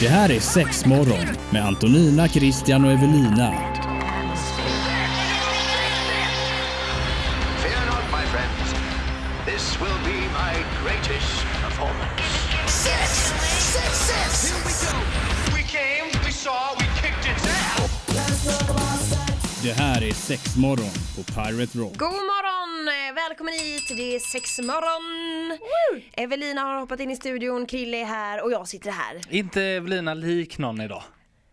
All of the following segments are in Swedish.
Det här är Sexmorgon med Antonina, Christian och Evelina. Fear not, my friends. This will be my greatest performance. Six! Six, six! we go. We came, we saw, we kicked its ass. Det här är Sexmorgon på Pirate Rock. God morgon! eh, Välkommen hit, det är sexmorgon! Evelina har hoppat in i studion, Krille är här och jag sitter här. Inte Evelina lik någon idag.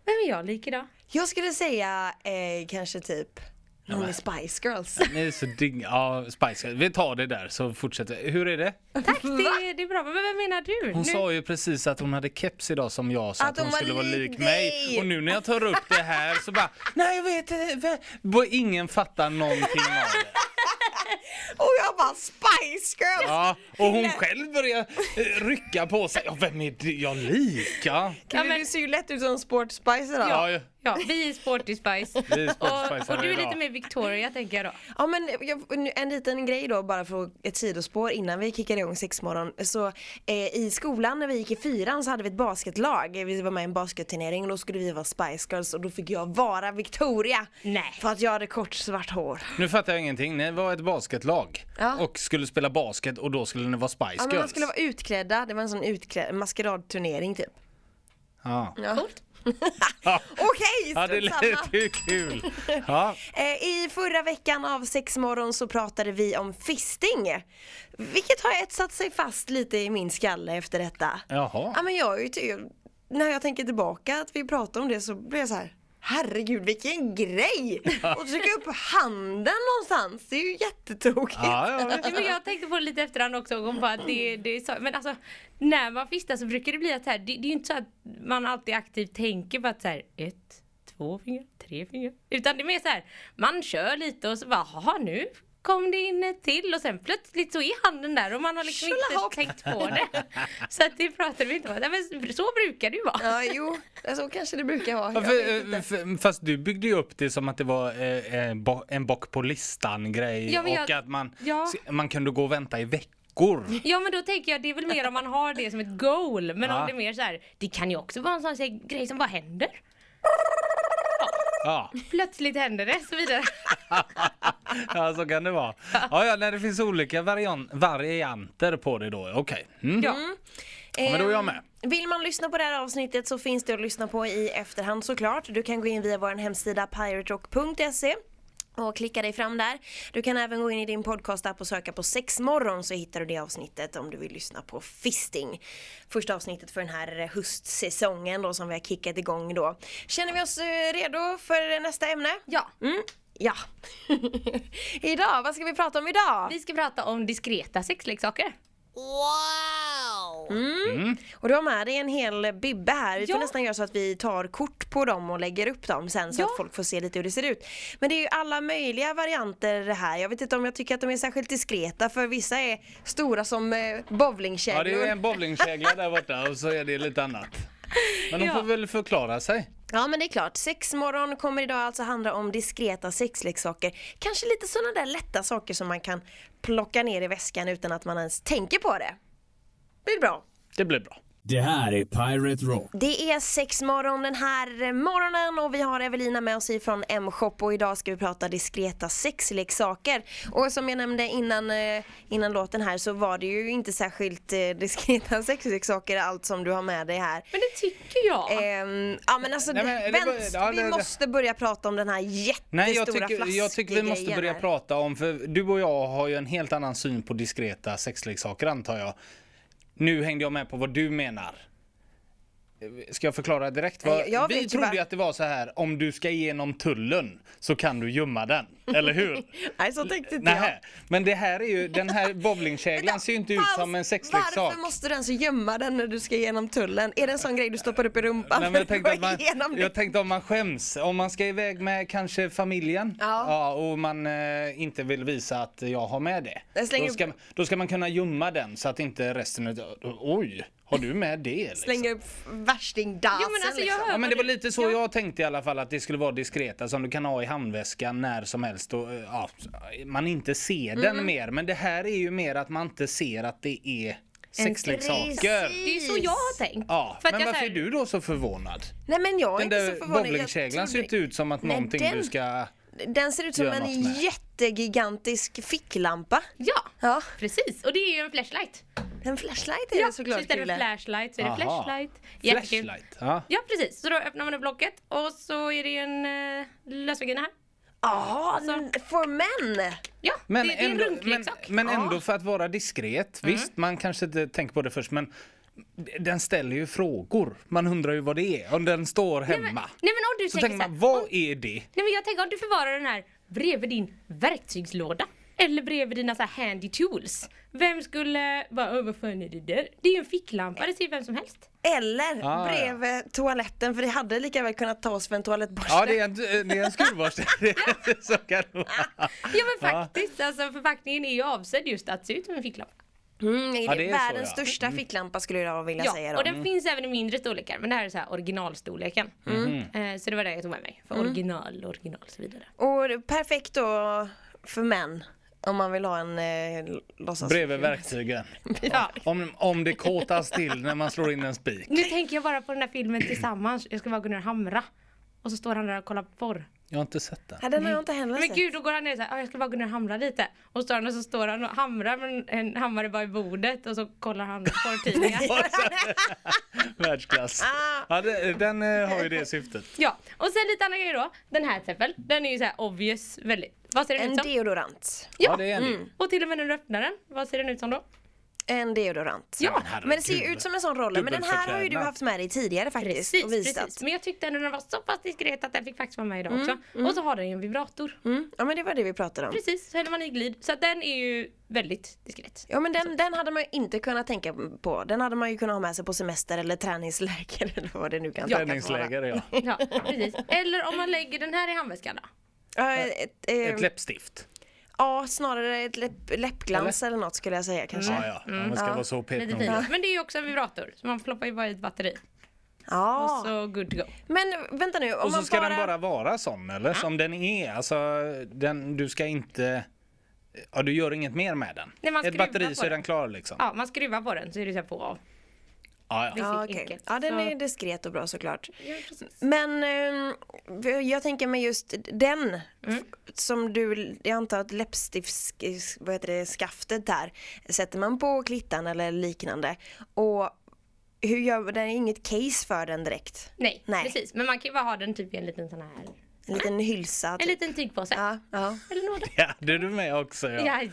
Vem är jag lik idag? Jag skulle säga eh, kanske typ någon i Spice Girls. Ni är så ding... Ja, Spice Girls. Vi tar det där så fortsätter vi. Hur är det? Tack, det, det är bra. Men vem menar du? Hon sa ju precis att hon hade keps idag som jag så Att att, hon hon var skulle vara lik lik dig. mig. Och nu när jag tar upp det här så bara Nej jag vet inte. Vä- Ingen fattar någonting av det. och jag bara Spice Girls! Ja, och hon själv börjar eh, rycka på sig. Ja, vem är det jag lik? Ja, Krille, Ja, men- du ser ju lätt ut som Sport Spice idag. Ja. ja, ja. Ja, vi är Sporty Spice. Vi är Sporty Spice och, och här du är idag. lite mer Victoria tänker jag då. men jag, nu- en liten grej då bara för ett sidospår innan vi kickade igång sexmorgon. Så eh, i skolan när vi gick i fyran så hade vi ett basketlag. Vi var med i en basketturnering och då skulle vi vara Spice Girls och då fick jag vara Victoria. Nej. För att jag hade kort svart hår. Nu fattar jag ingenting. Ni var ett basketlag Ja. och skulle spela basket och då skulle ni vara Spice Girls. Ja, men man skulle vara utklädda, det var en sån utklä- maskeradturnering typ. ja. Ja. Coolt. Ja. Okej, Ja, det strunt samma. lät ju kul. Ja. Eh, I förra veckan av Sexmorgon så pratade vi om fisting. Vilket har etsat sig fast lite i min skalle efter detta. Jaha. Ja, men jag är ju ty- när jag tänker tillbaka att vi pratade om det så blir jag så här. Herregud vilken grej! Och trycka upp handen någonstans, det är ju jättetokigt. Ja, ja, Ja, visst. men jag tänkte på det lite efterhand också. Och kom på att det, det är så, men alltså, när man fistar så brukar det bli att så här, det, det är ju inte så att man alltid aktivt tänker på att så här, ett, två fingrar, tre fingrar. Utan det är mer så här, man kör lite och så bara, jaha nu kom det in ett till och sen plötsligt så är handen där och man har liksom Tjolahopp! inte tänkt på det. Så att det pratade vi inte om. Nej, men så brukar det ju vara. Ja, jo, så kanske det brukar vara. Ja, Jag vet för, eh, för, fast du byggde ju upp det som att det var eh, eh, bo- en bock på listan grej Ja, men och jag- att man, Ja. se- man kunde gå och vänta i veckor. Ja men då tänker jag det är väl mer om man har det som ett goal. Men om Ja. det är mer så här, det kan ju också vara en sån här grej som bara händer. Ja, Plötsligt händer det så vidare. ja så kan det vara. Ja, ja, när det finns olika varian- varianter på det då. Okej, mm. ja. men då är jag med. Ehm, Vill man lyssna på det här avsnittet så finns det att lyssna på i efterhand såklart. Du kan gå in via vår hemsida piraterock.se och klicka dig fram där. Du kan även gå in i din podcastapp och söka på sexmorgon så hittar du det avsnittet om du vill lyssna på fisting. Första avsnittet för den här höstsäsongen då som vi har kickat igång då. Känner vi oss eh, redo för nästa ämne? Ja, Mm, ja. idag, vad ska vi prata om idag? vi ska prata om diskreta sexleksaker. Wow! Mm, Och du har med dig en hel bibbe här. Vi får Ja. nästan göra så att vi tar kort på dem och lägger upp dem sen så Ja. att folk får se lite hur det ser ut. Men det är ju alla möjliga varianter det här. Jag vet inte om jag tycker att de är särskilt diskreta för vissa är stora som eh, Ja, bowlingkäglor. det är ju en bowlingkägla där borta och så är det lite annat. Men hon Ja. får väl förklara sig. Ja, men det är klart. Sexmorgon kommer idag alltså handla om diskreta sexleksaker. Kanske lite sådana där lätta saker som man kan plocka ner i väskan utan att man ens tänker på det. Blir bra. Det blir bra. Det här är Pirate Rock. Det är sexmorgon den här morgonen och vi har Evelina med oss ifrån M-shop och idag ska vi prata diskreta sexleksaker. Och som jag nämnde innan, eh, innan låten här så var det ju inte särskilt eh, diskreta sexleksaker allt som du har med dig här. Men det tycker jag. Ehm, ja men alltså, Nej, men det vänt, var- ja, vi det- det- måste börja prata om den här jättestora Nej, jag tycker, jag tycker vi måste flaskgrejen börja här. prata om, för du och jag har ju en helt annan syn på diskreta sexleksaker antar jag. Nu hängde jag med på vad du menar. Ska jag förklara direkt? Nej, Vad, jag- jag vi vet ju trodde bara- ju att det var så här, om du ska igenom tullen så kan du gömma den, eller hur? Nej så tänkte inte jag. Nej, men det här är ju, den här bowlingkäglan ser ju inte ut som en sexleksak. Varför måste du ens gömma den när du ska genom tullen? Är det en sån grej du stoppar upp i rumpan Nej, men för jag, tänkte att att gå igenom man, det? jag tänkte om man skäms, om man ska iväg med kanske familjen Ja. och man eh, inte vill visa att jag har med det. Jag slänger Då ska, upp- då ska man kunna gömma den så att inte resten av, oj, har du med det? Liksom. Slänga upp värstingdassen Jo, men alltså, jag liksom. hör- Ja men det var lite så Ja. jag tänkte i alla fall att det skulle vara diskreta som du kan ha i handväskan när som helst och eh, Mm. ja, man inte ser den mer. Men det här är ju mer att man inte ser att det är sexleksaker. Det är så jag har tänkt. Ja, För att men jag varför såhär- är du då så förvånad? Nej men jag är Den inte så där förvånad. Jag bowlingkäglan ser trodde- inte ut som att Nej, någonting den- du ska... Den ser ut som Gör en något med. jättegigantisk ficklampa. Ja, Ja. precis. Och det är ju en flashlight. En flashlight är det såklart så är det Krille. flashlight så är det Aha. flashlight. Jättekul. Flashlight. Ja. Ja, precis. Så då öppnar man upp locket och så är det en eh, lösväggarna här. Jaha, for men! Ja, Men, det, det är en ändå, men, runkleksak. men ändå för att vara diskret. Mm. Visst, man kanske inte tänker på det först men den ställer ju frågor. Man undrar ju vad det är om den står hemma. Nej, men, nej, men om du så tänker tänker så här, man, vad är det? Nej men jag tänker om du förvarar den här bredvid din verktygslåda. Eller bredvid dina så här handy tools. Vem skulle bara "Åh, vad fan är det där? Det är ju en ficklampa, det ser vem som helst. Eller Ah, ja. bredvid toaletten, för det hade lika väl kunnat tas för en toalettborste. Ja, det är en, det är en skruvborste. Det är så kan det vara. Ja men faktiskt, alltså förpackningen är ju avsedd just att se ut som en ficklampa. Mm, det är Ja, det är så, världens ja. Mm. största ficklampa skulle jag vilja Ja, säga då. och den finns även i mindre storlekar. Men det här är så här originalstorleken. Eh, så det var det jag tog med mig. För original, original och så vidare. Och perfekt då för män. Om man vill ha en eh, låtsas... Bredvid verktygen. Ja. Om, om det kåtas till när man slår in en spik. Nu tänker jag bara på den här filmen Tillsammans. Jag ska bara gå ner och hamra. Och så står han där och kollar på porr. Jag har inte sett den. Ja, den har jag inte heller Mm. Men sett. gud, då går han ner såhär, jag ska bara gå ner och hamra lite. Och så står han och så står han och hamrar men en hammare bara i bordet och så kollar han på porrtidningar. Världsklass. Ja, det, den eh, har ju det syftet. ja, och sen lite andra grejer då. Den här till exempel, den är ju såhär obvious väldigt. Vad ser den En ut som? deodorant. Ja, det är en del. Och till och med när du öppnar den, vad ser den ut som då? En deodorant. Ja, men det ser ju herregud. ut som en sån roller. Men den här har ju du Dubbelförklädnad. haft med dig tidigare faktiskt. Precis, och visat. precis. Men jag tyckte ändå den var så pass diskret att den fick faktiskt vara med idag också. Och så har den ju en vibrator. Mm. Ja men det var det vi pratade om. Precis, så häller man i glid. Så att den är ju väldigt diskret. Ja men den, den hade man ju inte kunnat tänka på. Den hade man ju kunnat ha med sig på semester eller träningsläger eller vad det nu kan tänkas vara. Träningsläger, ja. Ja, precis. Eller om man lägger den här i handväskan då. Ja, ett, eh, Ett läppstift. ja snarare ett läpp, läppglans eller? något skulle jag säga kanske. Ja, ja. Om man ska vara så Mm. Lite petig. finare. Men det är ju också en vibrator, så man ploppar ju bara i ett batteri. Ja. Och så good to go. Men vänta nu, om Och så man ska bara... den bara vara sån eller? Som den är. Alltså den, du ska inte... Ja du gör inget mer med den. Nej, man Ett skruvar batteri på så är den. den klar liksom. Ja, man skruvar på den så är det så här på och av. Ja, ja. Ja, Precis, okej. enkelt. ja, den Så- är diskret och bra såklart. Ja, precis. Men eh, jag tänker mig just den Mm. f- som du, jag antar att läppstifts, vad heter det, skaftet där sätter man på klittan eller liknande. Och hur gör, det är inget case för den direkt. Nej, Nej. precis. Men man kan ju bara ha den typ i en liten sån här, En liten hylsa. en typ. liten tygpåse. Ja, ja. Eller nåda. Ja, det är du med också ja. Jajamän,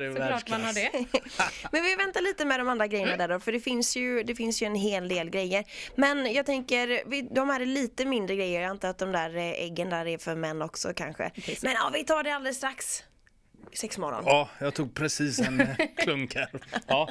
det är såklart man har världsklass. det. Men vi väntar lite med de andra grejerna Mm. där då, för det finns, ju, det finns ju en hel del grejer. Men jag tänker, vi, de här är lite mindre grejer. Jag antar att de där eh, äggen där är för män också kanske. Men ja, vi tar det alldeles strax. Sex morgon. Ja, jag tog precis en eh, klunk här. Ja.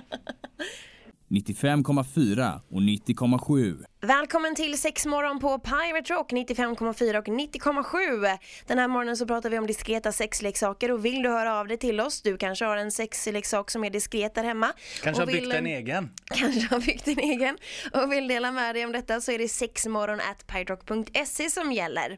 95,4 och 90,7. Välkommen till sexmorgon på Pirate Rock 95,4 och 90,7. Den här morgonen så pratar vi om diskreta sexleksaker och vill du höra av dig till oss, du kanske har en sexleksak som är diskret där hemma. Kanske och har byggt vill- en egen. kanske har byggt din egen och vill dela med dig om detta så är det sexmorgon.piratrock.se E som gäller.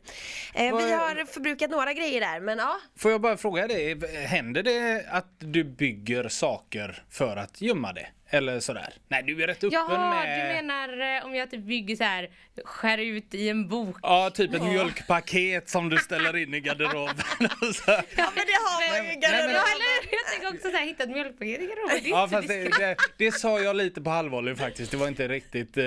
Eh, vi har förbrukat några grejer där men ja, Får jag bara fråga dig, händer det att du bygger saker för att gömma det? Eller sådär? Nej, du är rätt öppen Jaha, med... du menar eh, om jag typ bygger så här, skär ut i en bok. Ja, typ ett mjölkpaket som du ställer in i garderoben. Så- ja men det har man ju Nej, men- Ja, eller jag tänker också så här, hitta ett mjölkpaket i garderoben. Det är Ja, inte fast diskret. det, det, det sa jag lite på halvvolley faktiskt. Det var inte riktigt eh,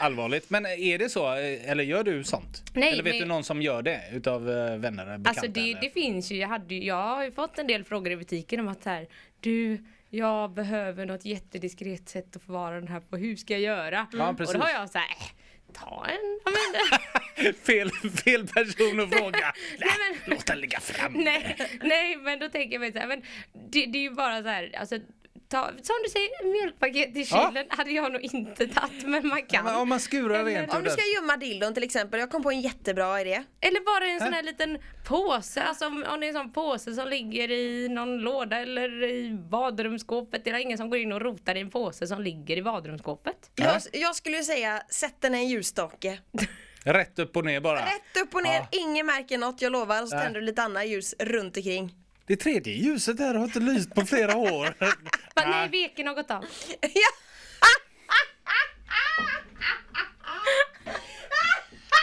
allvarligt. Men är det så? eh, Eller gör du sånt? Nej, eller vet men- du någon som gör det utav eh, vänner eller bekanta? Alltså det, eller? det finns ju, jag, hade, ju- jag har ju fått en del frågor i butiken om att så här, du, jag behöver något jättediskret sätt att förvara den här på, hur ska jag göra? Och precis. då har jag så här, äh, ta en, ja, men, fel, fel person att fråga. Nej, men- Låt den ligga fram. nej, nej men då tänker jag mig så här, men det, det är ju bara så här, alltså, ta, som du säger, mjölkpaket i Ja. kylen hade jag nog inte tagit, men man kan. Men om man skurar Eller- rent om du ur ska gömma dildon till exempel, jag kom på en jättebra idé. Eller bara en sån här liten påse, alltså om, om det är en sån påse som ligger i någon låda eller i badrumsskåpet. Det är ingen som går in och rotar i en påse som ligger i badrumsskåpet. Jag, jag skulle ju säga, sätt den i en ljusstake. den. Rätt upp och ner bara. Rätt upp och ner, ingen märker något, jag lovar. Och så tänder du lite annat ljus runt omkring. Det tredje ljuset där har inte lyst på flera år. Bara, nej, veken har gått av. Alltså,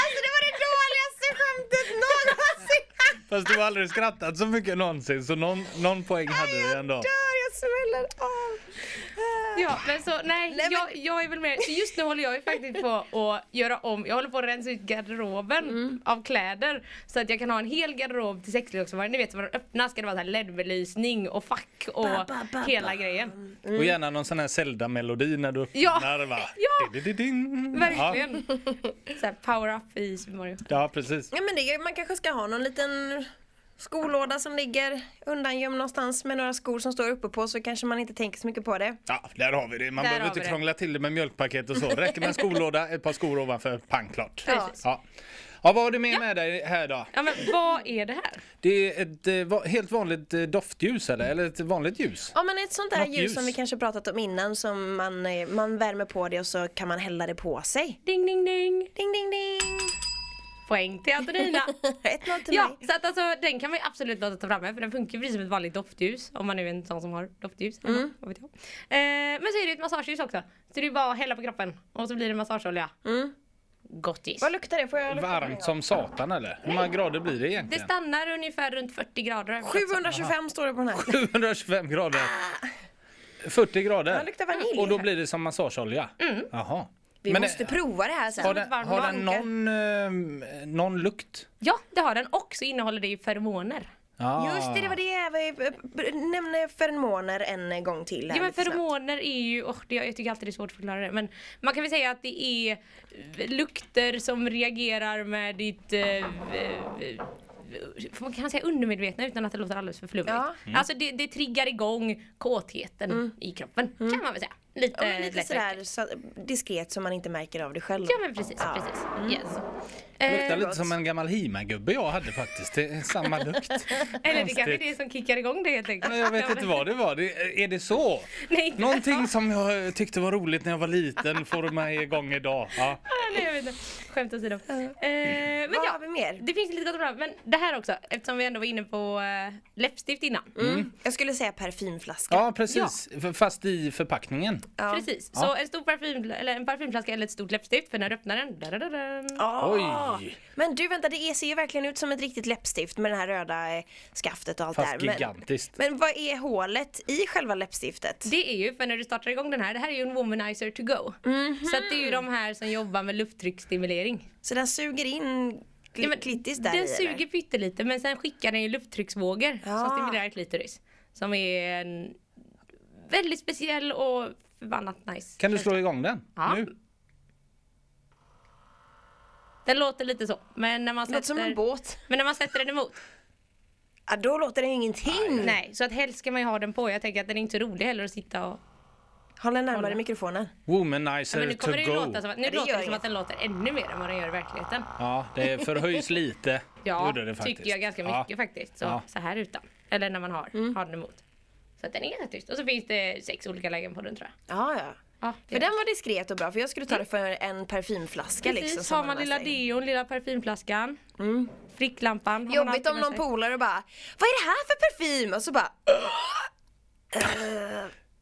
Alltså det var det dåligaste skämtet någonsin! Fast du har aldrig skrattat så mycket någonsin så någon, någon poäng hade du ändå. Dör, jag smäller av! Ja, men så nej, men- Jag, jag är väl med. Så just nu håller jag ju faktiskt på att göra om. Jag håller på att rensa ut garderoben Mm. av kläder så att jag kan ha en hel garderob till sexleksaksförvaring. Ni vet, när man öppnar ska det vara så här LED-belysning och fack och Ba, ba, ba, hela ba. grejen. Och gärna någon sån här Zelda-melodi när du Ja, öppnar va? ja. Di-di-di-din. Ja, Verkligen. Så här power up i Super Mario. ja precis. Ja men det, man kanske ska ha någon liten skolåda som ligger undangömd någonstans med några skor som står uppe på så kanske man inte tänker så mycket på det. Ja, där har vi det. Man Där behöver har inte vi det. krångla till det med mjölkpaket och så. Räcker med en skolåda, ett par skor ovanför, pang klart. Ja. Ja. ja, vad har du med med dig här då? Ja men vad är det här? Det är ett eh, va- helt vanligt eh, doftljus eller? Eller ett vanligt ljus? Ja men ett sånt där Något ljus, ljus. som vi kanske pratat om innan som man, eh, man värmer på det och så kan man hälla det på sig. Ding ding ding. Ding ding ding! Poäng till Antonina. 1-0 till Ja, mig. så att alltså, den kan man ju absolut låta ta fram här, för den funkar ju precis som ett vanligt doftljus. Om man nu är en sån som har doftljus. hemma, Mm. vad vet jag. Eh, men så är det ett massageljus också. Så det är bara att hälla på kroppen och så blir det massageolja. Gottis. Mm. Vad luktar det? Får jag lukta på det? Varmt som satan eller? Hur många grader blir det Det egentligen? stannar ungefär runt 40 grader. har jag förstått. 725 står det på den här. 725 grader. 40 Den grader. luktar vanilj. Och då blir det som massageolja? Jaha. Vi Men, måste eh, prova det här sen. Har den, varmt har den vanke. någon, eh, någon lukt? Ja, det har den. Och så innehåller det ju feromoner. Ah. Just det, det var det vi eh, nämnde feromoner en gång till. Här Ja men lite snabbt. feromoner är ju, åh, det, jag tycker alltid det är svårt att förklara det. Men man kan väl säga att det är eh, lukter som reagerar med ditt eh, eh, eh, man kan säga undermedvetna utan att det låter alldeles för flummigt. Ja. Mm. Mm. Alltså det, det triggar igång kåtheten i kroppen kan man väl säga. Lite, Ja, men lite eh, lätt sådär uttryckt. så, diskret så man inte märker av det själv. Ja men precis, Ja. Mm. precis. Yes. Luktar Eh, lite som en gammal Hima-gubbe jag hade faktiskt. Det är samma lukt. eller det kanske är Konstigt. det som kickar igång det helt enkelt. Nej, Jag vet inte vad det var. Det, är det så? Nej, inte- Någonting som jag eh, tyckte var roligt när jag var liten får mig igång idag. Ja. Nej, jag vet inte. Skämt åsido. Eh, men Vad ja, har vi mer? Det finns lite gott och bra. Men det här också, eftersom vi ändå var inne på eh, läppstift innan. Mm. Jag skulle säga parfymflaska. Mm. ja, precis. F- Fast i förpackningen. Precis. Så en stor parfym, eller en parfymflaska eller ett stort läppstift för när du öppnar den. dadadadam. Ah. Oj. Men du vänta, det ser ju verkligen ut som ett riktigt läppstift med det här röda eh, skaftet och allt Fast där. gigantiskt. Men, men vad är hålet i själva läppstiftet? Det är ju för när du startar igång den här, det här är ju en womanizer to go. Mhm. Så att det är ju de här som jobbar med lufttrycksstimulering. Så den suger in Ja, men kl- klittis där Den i, suger eller? pyttelite men sen skickar den ju lufttrycksvågor Ja. som stimulerar klitoris. Som är en väldigt speciell och förbannat nice. Kan du slå igång den? Ja. Nu? Den låter lite så. Men när man sätter, Låter som en båt. Men när man sätter den emot. Ja, då låter det ingenting. Nej, så att helst ska man ju ha den på. Jag tänker att den är inte så rolig heller att sitta och... Håll den närmare mikrofonen. Womanizer Men nu to kommer det ju go. låta som att, nu det låter gör det som inget. att den låter ännu mer än vad den gör i verkligheten. Ja, det förhöjs lite. Ja, Gjorde det faktiskt. tycker jag ganska Ja. mycket faktiskt. Så, Ja. så här utan. Eller när man har, Mm. har den emot. Så att den är ganska tyst. Och så finns det sex olika lägen på den tror jag. Ja, ja. Ja, För den var diskret och bra, för jag skulle ta det för en parfymflaska Precis, liksom. som har man har lilla med sig. deon, lilla parfymflaskan, Mm. fricklampan. har man Jobbigt alltid om med någon sig. polare bara Vad är det här för parfym? Och så bara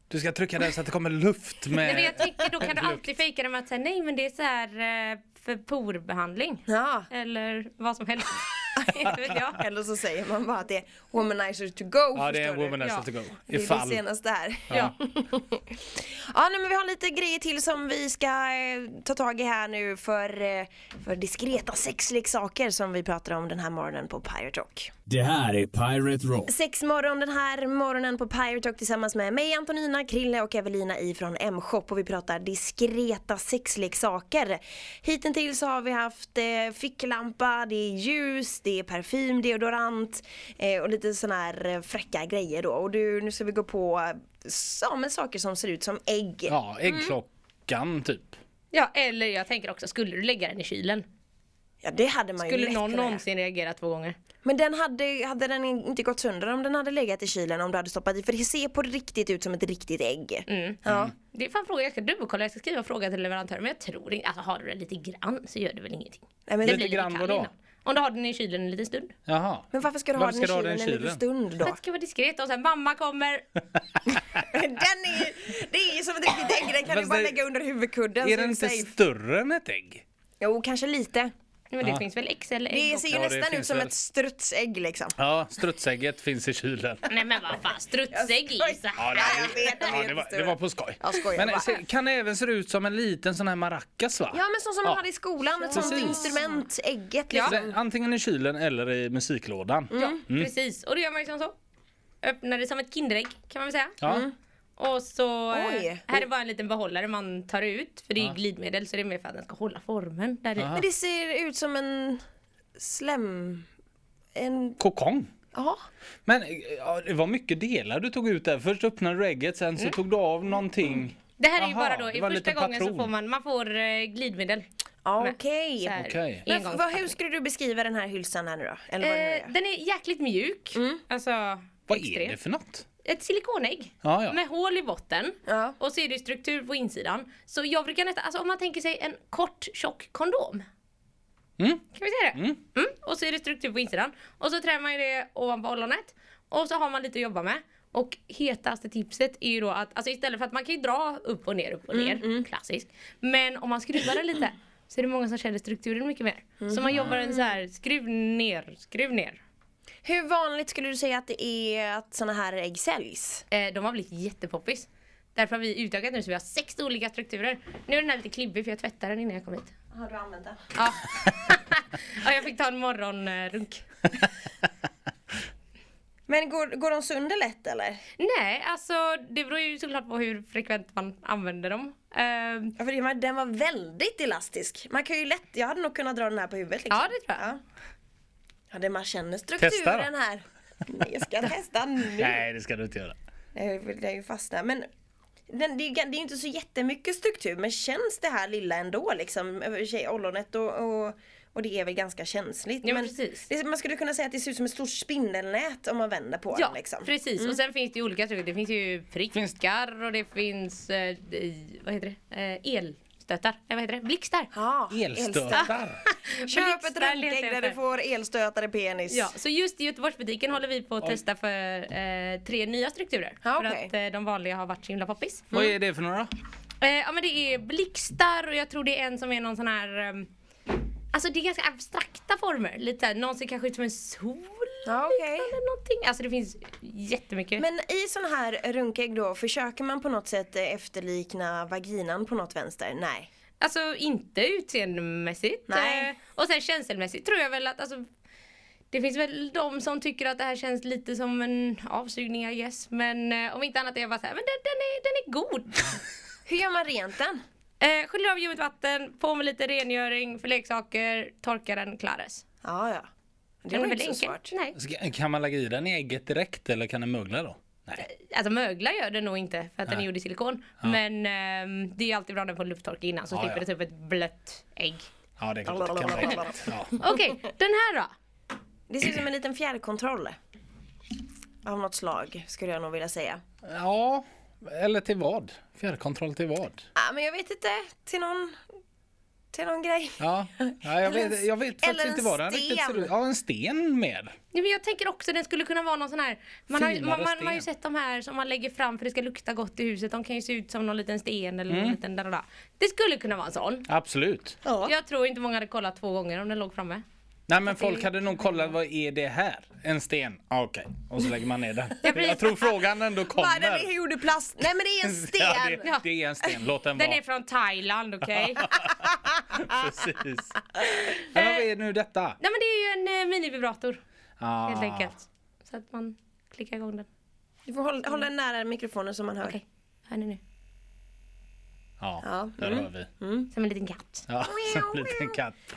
Du ska trycka den så att det kommer luft Nej, med... men jag tänker då kan du alltid fejka det med att säga nej men det är så här eh, för porbehandling. Ja. Eller vad som helst. Inte vet jag. Eller så säger man bara att det är womanizer to go Ja, det är förstår du? womanizer Ja. to go. Det är det Ifall. senaste här. Ja. Ja, nej, men vi har lite grejer till som vi ska eh, ta tag i här nu för, eh, för diskreta sexleksaker som vi pratar om den här morgonen på Pirate Rock. Det här är Pirate Rock. Sex morgon den här morgonen på Pirate Talk tillsammans med mig Antonina, Krille och Evelina ifrån M-shop och vi pratar diskreta sexleksaker. Hittills har vi haft eh, ficklampa, det är ljus, det är parfym, deodorant eh, och lite sådana här eh, fräcka grejer då. Och du, nu ska vi gå på eh, ja, men saker som ser ut som ägg. Ja, äggklockan typ. ja, eller jag tänker också, skulle du lägga den i kylen? Ja, det hade man ju Skulle lätt någon kunnat göra. någonsin reagera två gånger? Men den hade, hade den inte gått sönder om den hade legat i kylen om du hade stoppat i för det ser på riktigt ut som ett riktigt ägg. Mm. Ja. Det är fan fråga, jag ska dubbelkolla, jag ska skriva en fråga till leverantören men jag tror inte, alltså har du det lite grann så gör det väl ingenting. Nej, men det lite blir grann kall vadå? innan. Om du har den i kylen en liten stund. Jaha. Men varför ska du ha Varför den i ska kylen en liten stund För då? att det ska vara diskret och sen mamma kommer. den är ju, det är ju som ett riktigt ägg, den kan du Fast bara det- lägga under huvudkudden Är så är den du inte safe. större än ett ägg? Jo, kanske lite. Nej, Men det finns väl XL ägg Det också? ser ju Ja, det nästan ut finns som väl. ett strutsägg liksom. Ja, strutsägget finns i kylen. Nej men vad fan, strutsägg är ju så här. Ja, jag vet, de Ja, är det, var, jättestora. det var på skoj. Jag skojar Men bara. se, kan det även se ut som en liten sån här maracas va? Ja men så som man Ja. hade i skolan, ett sånt Precis. instrument, ägget Ja. liksom. Så Antingen i kylen eller i musiklådan. Ja, Mm. Mm. precis. Och då gör man liksom så. Öppnar det som ett Kinderägg kan man väl säga. Ja. Mm. Och så eh, Oj. här är bara en liten behållare man tar ut för det är ju glidmedel så det är mer för att den ska hålla formen där i. Men det ser ut som en slem... En... Kokong. Ja. Men eh, ja, det var mycket delar du tog ut där. Först öppnade du ägget, sen Mm. så tog du av någonting. Det här är ju Aha, bara då, det i var en första liten gången så patron. får man, man får eh, glidmedel. Ja, Men- okej. Så här, Okej. Men engångs- vad, hur skulle du beskriva den här hylsan här nu då? Eller vad det eh, nu är? den är jäkligt mjuk. Mm. Alltså, Vad är extremt. det för något? Ett silikonägg Ja, ja. med hål i botten Ja. och så är det struktur på insidan. Så jag brukar nästan, alltså om man tänker sig en kort tjock kondom. Mm. Kan vi säga det? Mm. Och så är det struktur på insidan. Och så trär man ju det ovanpå ollonet. Och så har man lite att jobba med. Och hetaste tipset är ju då att, alltså istället för att man kan ju dra upp och ner, upp och ner, klassiskt. Men om man skruvar den lite så är det många som känner strukturen mycket mer. Så man jobbar en så här, skruv ner, skruv ner. Hur vanligt skulle du säga att det är att såna här ägg säljs? Eh, de har blivit jättepoppis. Därför har vi utökat nu så vi har sex olika strukturer. Nu är den här lite klibbig för jag tvättade den innan jag kom hit. Har du använt den? Ja. ja jag fick ta en morgonrunk. Men går, går de sönder lätt eller? Nej, alltså det beror ju såklart på hur frekvent man använder dem. Ehm, Ja, för det var- den var väldigt elastisk. Man kan ju lätt, jag hade nog kunnat dra den här på huvudet liksom. ja, det tror jag. Ja. Ja, det man känner strukturen då. här. Nej, Jag ska testa nu. Nej, det ska du inte göra. Nej, jag vill ju fastna. Men den, det, är ju gan- det är ju inte så jättemycket struktur, men känns det här lilla ändå liksom? över tjej- Ollonet och, och, och det är väl ganska känsligt. Ja, men precis. det, man skulle kunna säga att det ser ut som ett stort spindelnät om man vänder på Ja, den liksom. precis. Och sen finns det ju olika strukturer. Det finns ju prickar och det finns, eh, i- vad heter det, eh, elstötar. Nej, vad heter det? Blixtar. Ja, Elstötar. Köp ett Blixtar letar runkägg jag där du efter. får elstötare penis. Ja, så just i Göteborgsbutiken håller vi på att testa för eh, tre nya strukturer. Ja, För okej. Mm. att eh, de vanliga har varit så himla poppis. Vad är det för några? Eh, ja men det är blixtar och jag tror det är en som är någon sån här ehm, Alltså det är ganska abstrakta former. Lite såhär, någon ser kanske ut som en sol. Ja, okej. Eller någonting. Alltså det finns jättemycket. Men i sån här runkägg då, försöker man på något sätt eh, efterlikna vaginan på något vänster? Nej. Alltså inte utseendemässigt. Nej. Eh, Och sen känselmässigt tror jag väl att alltså, det finns väl de som tycker att det här känns lite som en avsugning I guess. Men eh, om inte annat är jag bara såhär, men den, den, är, den är god. Hur gör man rent den? eh, sköljer av ljummet vatten, på med lite rengöring för leksaker, torkar den, klares. Ja, ja. Det Den var är ju väl inte så enkel. svårt. Nej. Ska- Kan man lägga i den i ägget direkt eller kan den mögla då? Nej. Alltså mögla gör den nog inte för att den är gjord i silikon. Men ehm, det är ju alltid bra när den får lufttork innan så Ja, slipper ja. det typ ett blött ägg. Ja, det är klart. det Kan vara ägget. ja. Okej, den här då? Det ser ut som en liten fjärrkontroll. Av något slag skulle jag nog vilja säga. ja, eller till vad? Fjärrkontroll till vad? ah, men jag vet inte. Till någon, till någon grej. Ja, ja jag, Eller vet, en- jag vet faktiskt eller en inte vad den riktigt sten. ser ut. Ja, en sten med. Ja, men jag tänker också den skulle kunna vara någon sån här Man har, ju- Finare man, man, man har ju sten. sett de här som man lägger fram för det ska lukta gott i huset. De kan ju se ut som någon liten sten eller Mm. någon liten där, Det skulle kunna vara en sån. Absolut. Ja. Jag tror inte många hade kollat två gånger om den låg framme. Nej men folk hade nog kollat, vad är det här? En sten? Ja, Okej, och så lägger man ner den. precis. Jag tror frågan ändå Bara den är kommer. gjord i plast. Nej men det är en Ja, sten. det, det är en sten, låt den, Den vara. är från Thailand, okej? Precis. Men Eh, vad är nu detta? Nej men det är ju en eh, minivibrator Ah. helt enkelt. Så att man klickar igång den. Du får hålla, hålla den nära mikrofonen så man hör. Okej, hör ni nu? Ja, Ja, där hör vi. Mm. Som en liten katt. Ja, som en liten katt.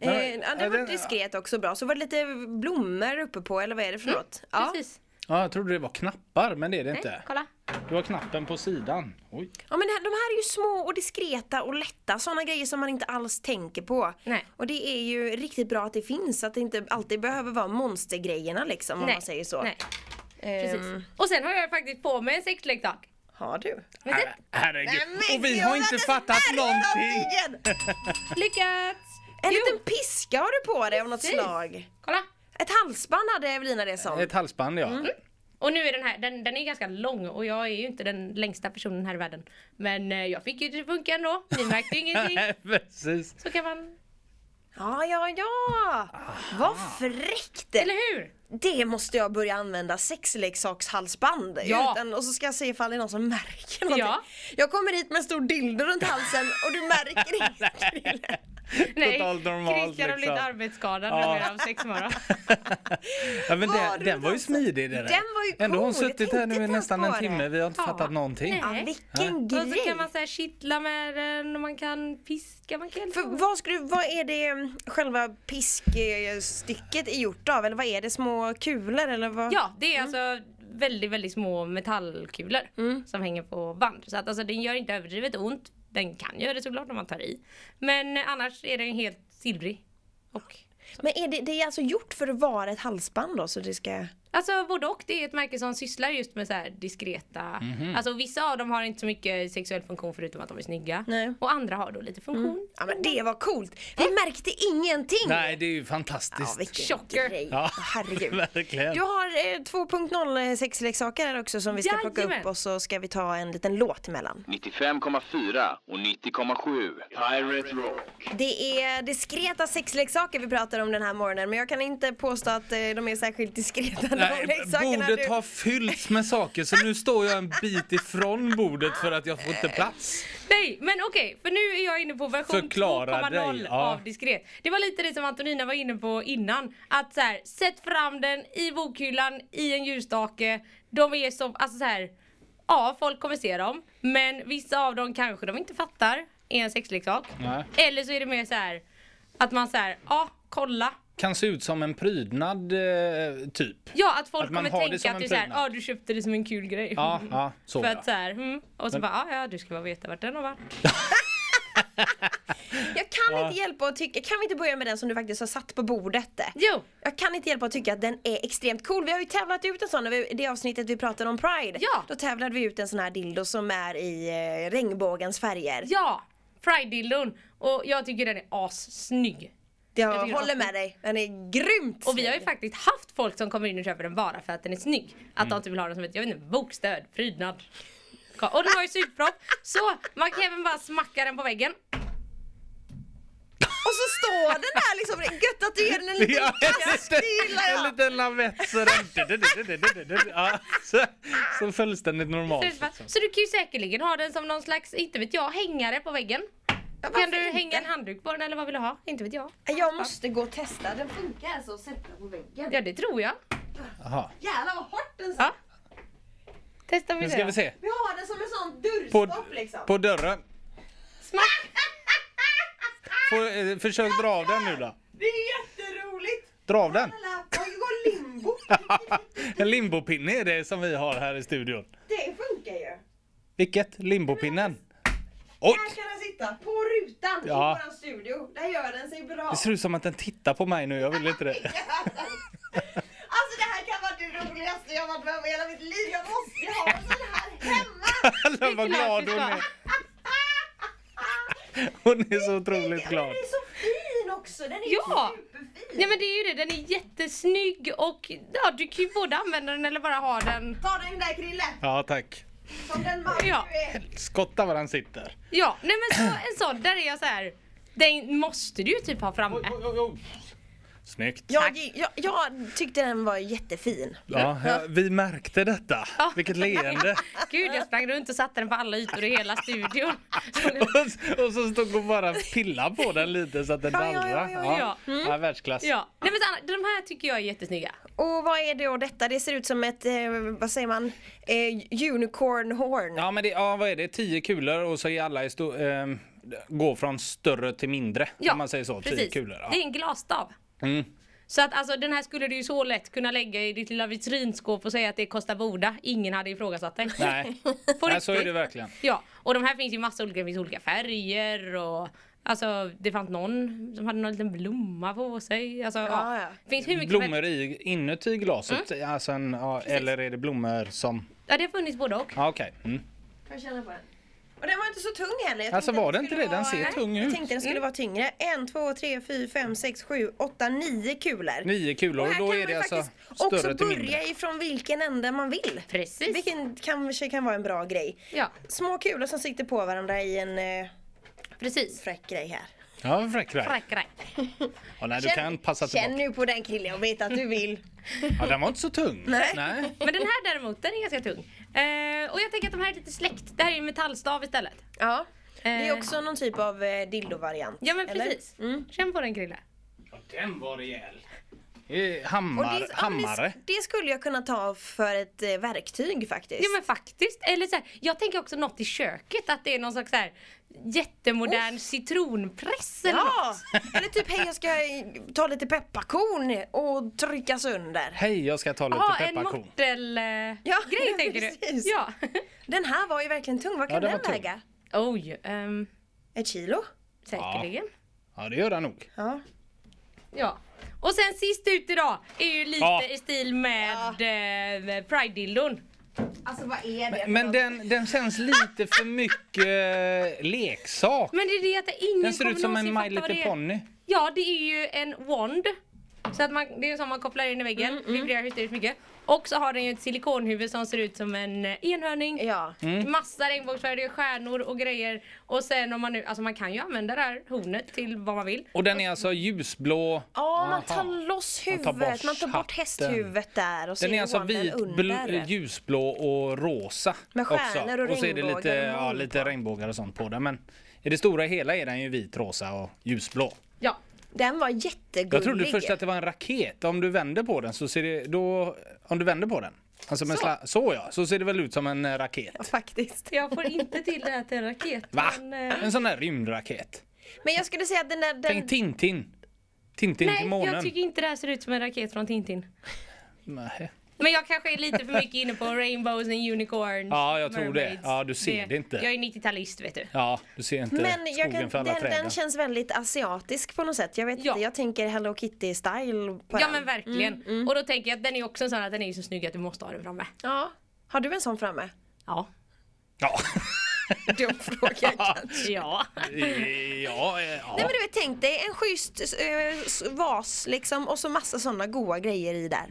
Eh, ja, det Ja, var den- diskret också bra. Så var det lite blommor uppe på eller vad är det för något? Ja. Mm. Precis. Ja, jag trodde det var knappar, men det är det Nej, inte. kolla. Det var knappen på sidan. Oj. ja men det här, de här är ju små och diskreta och lätta. Sådana grejer som man inte alls tänker på. Nej. Och det är ju riktigt bra att det finns. Att det inte alltid behöver vara monstergrejerna liksom om Nej, man säger så. Nej, eh, precis. Ehm, Och sen har jag faktiskt på mig en sexleksak. Har du? Men Herregud. men Och vi gud, har inte det fattat här är någonting. någonting! Lyckats! En Jo. liten piska har du på dig av något Precis. slag. Kolla! Ett halsband hade Evelina det som. Ett halsband ja. Mm. Och nu är den här, den, den är ganska lång och jag är ju inte den längsta personen här i världen. Men eh, jag fick ju det att funka ändå. Ni märkte ju ingenting. Precis. Så kan man, Ja, ja, ja! Vad fräckt! eller hur? Det måste jag börja använda, sexleksakshalsband. Ja. Utan, och så ska jag se ifall det är någon som märker någonting. Ja. Jag kommer hit med en stor dildo runt halsen och du märker inte Krille. Totalt normalt, Christian har blivit liksom. arbetsskadad Ja. numera av sexmorgon. Ja, men Vad har den, du den var ju dansat? smidig det där. Den var ju Ändå har hon cool, jag suttit här tänkte nu i inte nästan ens en på det. timme. Vi har inte Ja. fattat någonting. Ja, Nej. vilken Och så grej! kan man så här kittla med den och man kan piska, man kan... För vad, skulle, vad är det mm, själva piskstycket är gjort av? Eller vad är det? Små kulor eller vad? Ja, det är alltså väldigt, väldigt små metallkulor Mm. som hänger på band. Så att alltså, den gör inte överdrivet ont. Den kan göra det såklart om man tar i. Men eh, annars är den helt silvrig. Och, Men är det, det är alltså gjort för att vara ett halsband då? Så det ska... alltså både och. Det är ett märke som sysslar just med så här diskreta... Alltså vissa av dem har inte så mycket sexuell funktion förutom att de är snygga. Nej. Mm. Och andra har då lite funktion. Ja men det var coolt! Vi märkte ingenting! Nej, det är ju Ja, fantastiskt. vilken Chocker. grej! Ja, Herregud. verkligen. Du har eh, 2.0 sexleksaker här också som vi ska plocka Jajamän. upp och så ska vi ta en liten låt emellan. 95,4 och 90,7. Pirate Rock. Det är diskreta sexleksaker vi pratar om den här morgonen men jag kan inte påstå att eh, de är särskilt diskreta. de Nej, leksakerna bordet du- har fyllts med saker så nu står jag en bit ifrån bordet för att jag får inte plats. Nej, men okej, för nu är jag inne på version Förklara dig, 2.0 ja. av diskret. Det var lite det som Antonina var inne på innan. Att så här, sätt fram den i bokhyllan, i en ljusstake. De är så, alltså så här, ja folk kommer se dem. Men vissa av dem kanske de inte fattar är en sexleksak. Nej. Eller så är det mer så här, att man så här, ja kolla. Kan se ut som en prydnad eh, typ. Ja, att folk Att man kommer har det tänka som att en du såhär, prydnad. ja du köpte det som en kul grej. Ja, ja, så För ja. att så här, mm. Och så bara, ja, ja du ska bara veta vart den har varit. Jag kan inte hjälpa att tycka, kan vi inte börja med den som du faktiskt har satt på bordet? Jo, Jag kan inte hjälpa att tycka att den är extremt cool. Vi har ju tävlat ut en sån när vi- i det avsnittet vi pratade om Pride. Ja. Då tävlade vi ut en sån här dildo som är i eh, regnbågens färger. Ja! Pride-dildon. Och jag tycker den är assnygg. Jag, Jag tycker håller också. med dig, den är grymt Och vi har ju snygg. faktiskt haft folk som kommer in och köper den bara för att den är snygg. Att de inte vill ha den som ett, jag vet inte, bokstöd, prydnad. Och den har ju sugpropp. Så man kan även bara smacka den på väggen. Och så står den där liksom, det är gött att du ger den en liten Ja, kast, det gillar en jag! liten lavett så den... Ja, så, så fullständigt normalt. Så, Liksom. Typ. så du kan ju säkerligen ha den som någon slags, inte vet jag, hängare på väggen. Ja, Kan varför du inte? hänga en handduk på den eller vad vill du ha? Inte vet jag. Jag måste gå och testa, den funkar alltså att sätta på väggen. Ja det tror jag. Jaha. Jävlar vad hårt den Ja. Testa om Nu vi ska vi se. Vi har den som en sån På, dörrstopp liksom. på dörren. Smack! Får, eh, försök dra av den nu då. Det är jätteroligt! Dra av den. Alla går limbo. En limbopinne är det som vi har här i studion. Det funkar ju. Vilket? Limbopinnen? Oj! Här kan den sitta, på rutan Ja. i våran studio. Där gör den sig bra. Det ser ut som att den tittar på mig nu, jag vill inte det. Alltså det här kan vara det roligaste jag har varit med om i hela mitt liv. Jag måste ju ha en sån här hemma. Alla vad glad hon är. Hon är så otroligt Ja, glad. men Den är så fin också. Den är Ja. superfin. Nej men det är ju det, den är jättesnygg och ja, du kan ju både använda den eller bara ha den. Ta den där Krille, Ja, tack. som den man Ja. du är. Skotta var han sitter. Ja, nej men så, en sån, där är jag så här. Den måste du ju typ ha framme. Snyggt. Jag, jag, jag tyckte den var jättefin. Ja, ja, vi märkte detta. Ja. Vilket leende. Ah. Gud jag sprang runt och satte den på alla ytor i hela studion. Och, s- och så stod hon bara och pillade på den lite så att den Ja, ja, dallrade. ja, ja, Mm. ja. ja, världsklass. Ja, nej men så, Anna, de här tycker jag är jättesnygga. Och vad är det då detta? Det ser ut som ett, eh, vad säger man, eh, unicornhorn. Ja, men det, ja, vad är det? Tio kulor och så är alla i sto- ehm, går från större till mindre. Ja, om man säger så. Tio precis. kulor. Ja. Mm. Det är en glasstav. Så att alltså den här skulle du ju så lätt kunna lägga i ditt lilla vitrinskåp och säga att det kostar Boda. Ingen hade ifrågasatt dig. Nej. På Nej, så är riktigt. det verkligen. Ja, och de här finns ju massa olika, det finns olika färger och Alltså det fanns någon som hade någon liten blomma på sig. Alltså, ja, ja. Det finns hur mycket Blommor i, inuti glaset? Mm. Alltså en, ja, eller är det blommor som... Ja det har funnits både och. Ja, okej. Mm. Får jag känna på den? Och den var inte så tung heller. Jag Alltså, tänkte var att den skulle inte det? Den vara- ser Nej, tung Jag ut. Mm. tänkte den skulle vara tyngre. En, två, tre, fyra, fem, sex, sju, åtta, nio kulor. Nio kulor Och och här då kan är man det alltså faktiskt större också till börja mindre. ifrån vilken ände man vill. Precis. Vilket kanske kan vara en bra grej. Ja, Små kulor som sitter på varandra i en eh, precis. fräck grej här. Ja, fräck grej. Fräck, fräck. Ja, nej, du kan passa Känn tillbaka. nu på den killen, jag vet att du vill. Ja, den var inte så tung. Nej. nej. Men den här däremot, den är ganska tung. Eh, och jag tänker att de här är lite släkt. Det här är ju metallstav istället. Ja. Det är Eh. också någon typ av eh, dildo-variant. Ja men eller? precis. Känn på den Krille. Den var rejäl. Hammar, Och det, ja, men hammare. det, det skulle jag kunna ta för ett eh, verktyg faktiskt. Ja men faktiskt. Eller så här, jag tänker också något i köket. Att det är någon slags så här, jättemodern citronpress eller Ja! något. Eller typ hej jag ska ta lite pepparkorn och trycka sönder. Hej, jag ska ta lite Ja, en pepparkorn. mortelgrej Ja, grej tänker precis. du. Ja. Den här var ju verkligen tung, vad Ja, kan den den, var tung. väga? Oj, ehm, Ett kilo? säkerligen. Ja, det gör den nog. Ja. Ja. Och sen sist ut idag är ju lite Ja. i stil med eh, Pride-dildon. Alltså vad är det? Men den, den känns lite för mycket leksak. Men det är det att ingen Den ser kommer ut som en någonsin My fatta vad Little det är. Pony. Ja, det är ju en wand. Så att man, det är som man kopplar in i väggen, vibrerar hysteriskt mycket. Och så har den ju ett silikonhuvud som ser ut som en eh, enhörning. Ja. Massa regnbågsfärger, stjärnor och grejer. Och sen om man nu, alltså man kan ju använda det här hornet till vad man vill. Och den är alltså ljusblå. Ja, man tar Aha. loss Man tar huvudet, man tar bort, hatten. hästhuvudet där och så Den är alltså wanden vit, bl- under. ljusblå och rosa. Med stjärnor också. och så är det lite, regnbågar och ja, moln lite regnbågar och sånt på den. Men i det stora hela är den ju vit, rosa och ljusblå. Ja. Den var jättegullig. Jag trodde först att det var en raket. Om du vänder på den så ser det... Då, om du vänder på den. Alltså med så. Sla, så ja, så ser det väl ut som en eh, raket. Faktiskt. Jag får inte till det här till en raket. Va? men, eh, En sån där rymdraket. Men jag skulle säga att den där... Den... Tänk Tintin. Tintin till Nej, månen. jag tycker inte det här ser ut som en raket från Tintin. Nej. Men jag kanske är lite för mycket inne på rainbows and unicorns. Ja, jag tror det. Ja, du ser det inte. Jag är 90-talist vet du. Ja, du ser inte Men jag skogen kan, för alla den, träden. den känns väldigt asiatisk på något sätt. Jag vet Ja. inte, jag tänker Hello Kitty-style på Ja den. Mm. men verkligen. Och då tänker jag att den är också en sån att den är så snygg att du måste ha den framme. Ja. Har du en sån framme? Ja. Ja. Dum fråga kanske. Ja. ja, eh, ja. Nej men du vet, tänk dig en schysst eh, s- vas liksom och så massa såna goa grejer i där.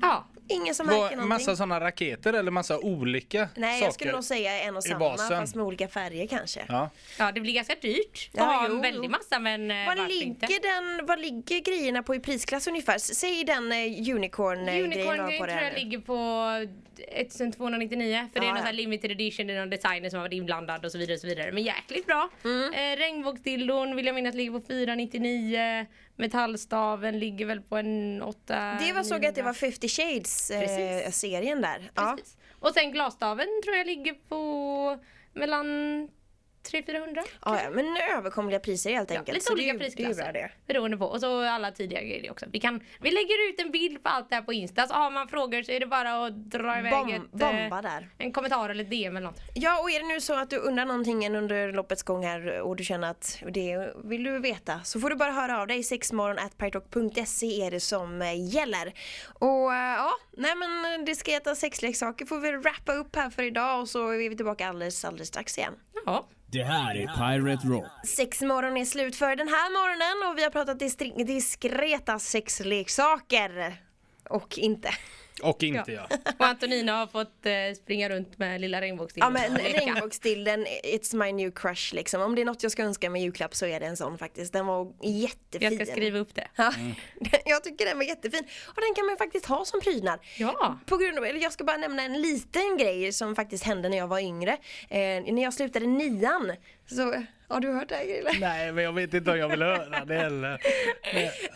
ja. Ingen som Var märker någonting. massa såna raketer eller massa olika Nej saker? jag skulle nog säga en och i samma basen. fast med olika färger kanske. Ja. Ja det blir ganska dyrt att Ja, ha jo, en väldig jo. massa men eh, Vad varför inte? ligger, den, vad ligger grejerna på i prisklass ungefär? S- Säg den eh, unicorn-grejen du har Unicorn på det tror här jag nu. ligger på 1299 för det Ja, är någon ja. sån här limited edition, det är någon designer som har varit inblandad och så vidare och så vidare. Men jäkligt bra. Eh, Regnbågsdildon vill jag minnas ligger på 499. Metallstaven ligger väl på en 8 Det var såg jag att det var 50 Shades-serien Precis. där. Ja. Precis. Och sen glasstaven tror jag ligger på mellan 300-400. Ja, ja, men överkomliga priser helt Ja, enkelt. lite Så det är olika ju- prisklasser. Det är ju bra det. Beroende på. Och så alla tidigare grejer också. Vi, kan, vi lägger ut en bild på allt det här på Insta. Så har man frågor så är det bara att dra iväg Bomb- ett, eh, bomba där. en kommentar eller ett DM eller något. Ja, och är det nu så att du undrar någonting under loppets gång här eh, och du känner att det vill du veta så får du bara höra av dig. sexmorgon.pytalk.se är det som eh, gäller. Och eh, ja, nej men eh, diskreta sexleksaker får vi wrappa upp här för idag och så är vi tillbaka alldeles, alldeles strax igen. Ja. Det här är Pirate Rock. Sexmorgon är slut för den här morgonen och vi har pratat distri- diskreta sexleksaker. Och inte. Och inte jag. Och Antonina har fått eh, springa runt med lilla Ja regnbågsdildon. men och leka. regnbågsdilden, it's my new crush liksom. Om det är något jag ska önska mig i julklapp så är det en sån faktiskt. Den var jättefin. Jag ska skriva upp det. Ja, jag tycker den var jättefin. Och den kan man ju faktiskt ha som prydnad. Ja. På grund av, eller jag ska bara nämna en liten grej som faktiskt hände när jag var yngre. Eh, när jag slutade nian. Så, har du hört det här Grille? Nej, men jag vet inte om jag vill höra det heller.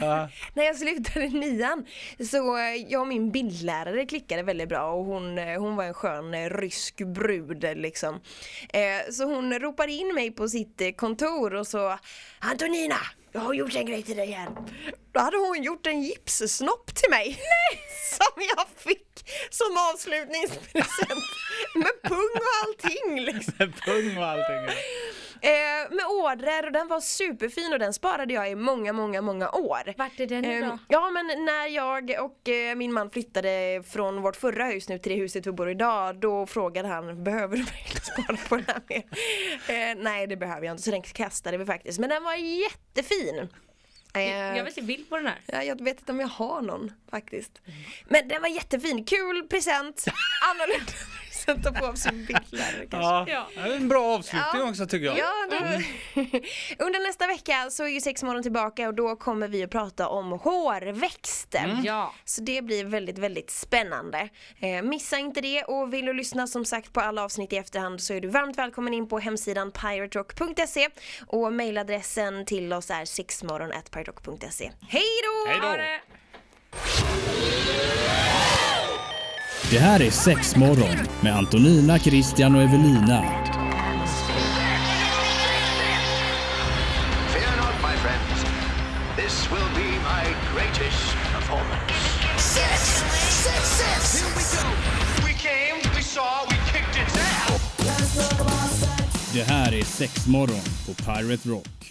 När jag slutade nian så eh, jag och min bildlärare klickade väldigt bra och hon, eh, hon var en skön eh, rysk brud eh, liksom. Eh, så hon ropade in mig på sitt eh, kontor och så Antonina! Jag har gjort en grej till dig här. Då hade hon gjort en gipssnopp till mig. Som jag fick som avslutningspresent. Med pung och allting liksom. pung och allting. Eh, med ådror och den var superfin och den sparade jag i många, många, många år. Vart är den nu Eh, då? Ja men när jag och eh, min man flyttade från vårt förra hus nu till det huset vi bor i idag då frågade han behöver du verkligen spara på den här mer? Eh, nej det behöver jag inte så den kastade vi faktiskt men den var jättefin. Eh, Jag vill se bild på den här. Ja, jag vet inte om jag har någon faktiskt. Men den var jättefin, kul present. Annorlunda present att få av sin bildlärare kanske. Ja, Ja. det är en bra avslutning också tycker jag. Mm. Ja, det Under nästa vecka så är ju sexmorgon tillbaka och då kommer vi att prata om hårväxter. Mm. Ja. Så det blir väldigt, väldigt spännande. Eh, missa inte det och vill du lyssna som sagt på alla avsnitt i efterhand så är du varmt välkommen in på hemsidan piraterock.se och mejladressen till oss är sexmorgon.piraterock.se. Hej då! Hej då! Ha det! Det här är sex morgon med Antonina, Christian och Evelina. Fear not, my friends. This will be my greatest performance. Six, six, six. Here we go. We came, we saw, we kicked its ass. Det här är sex morgon på Pirate Rock.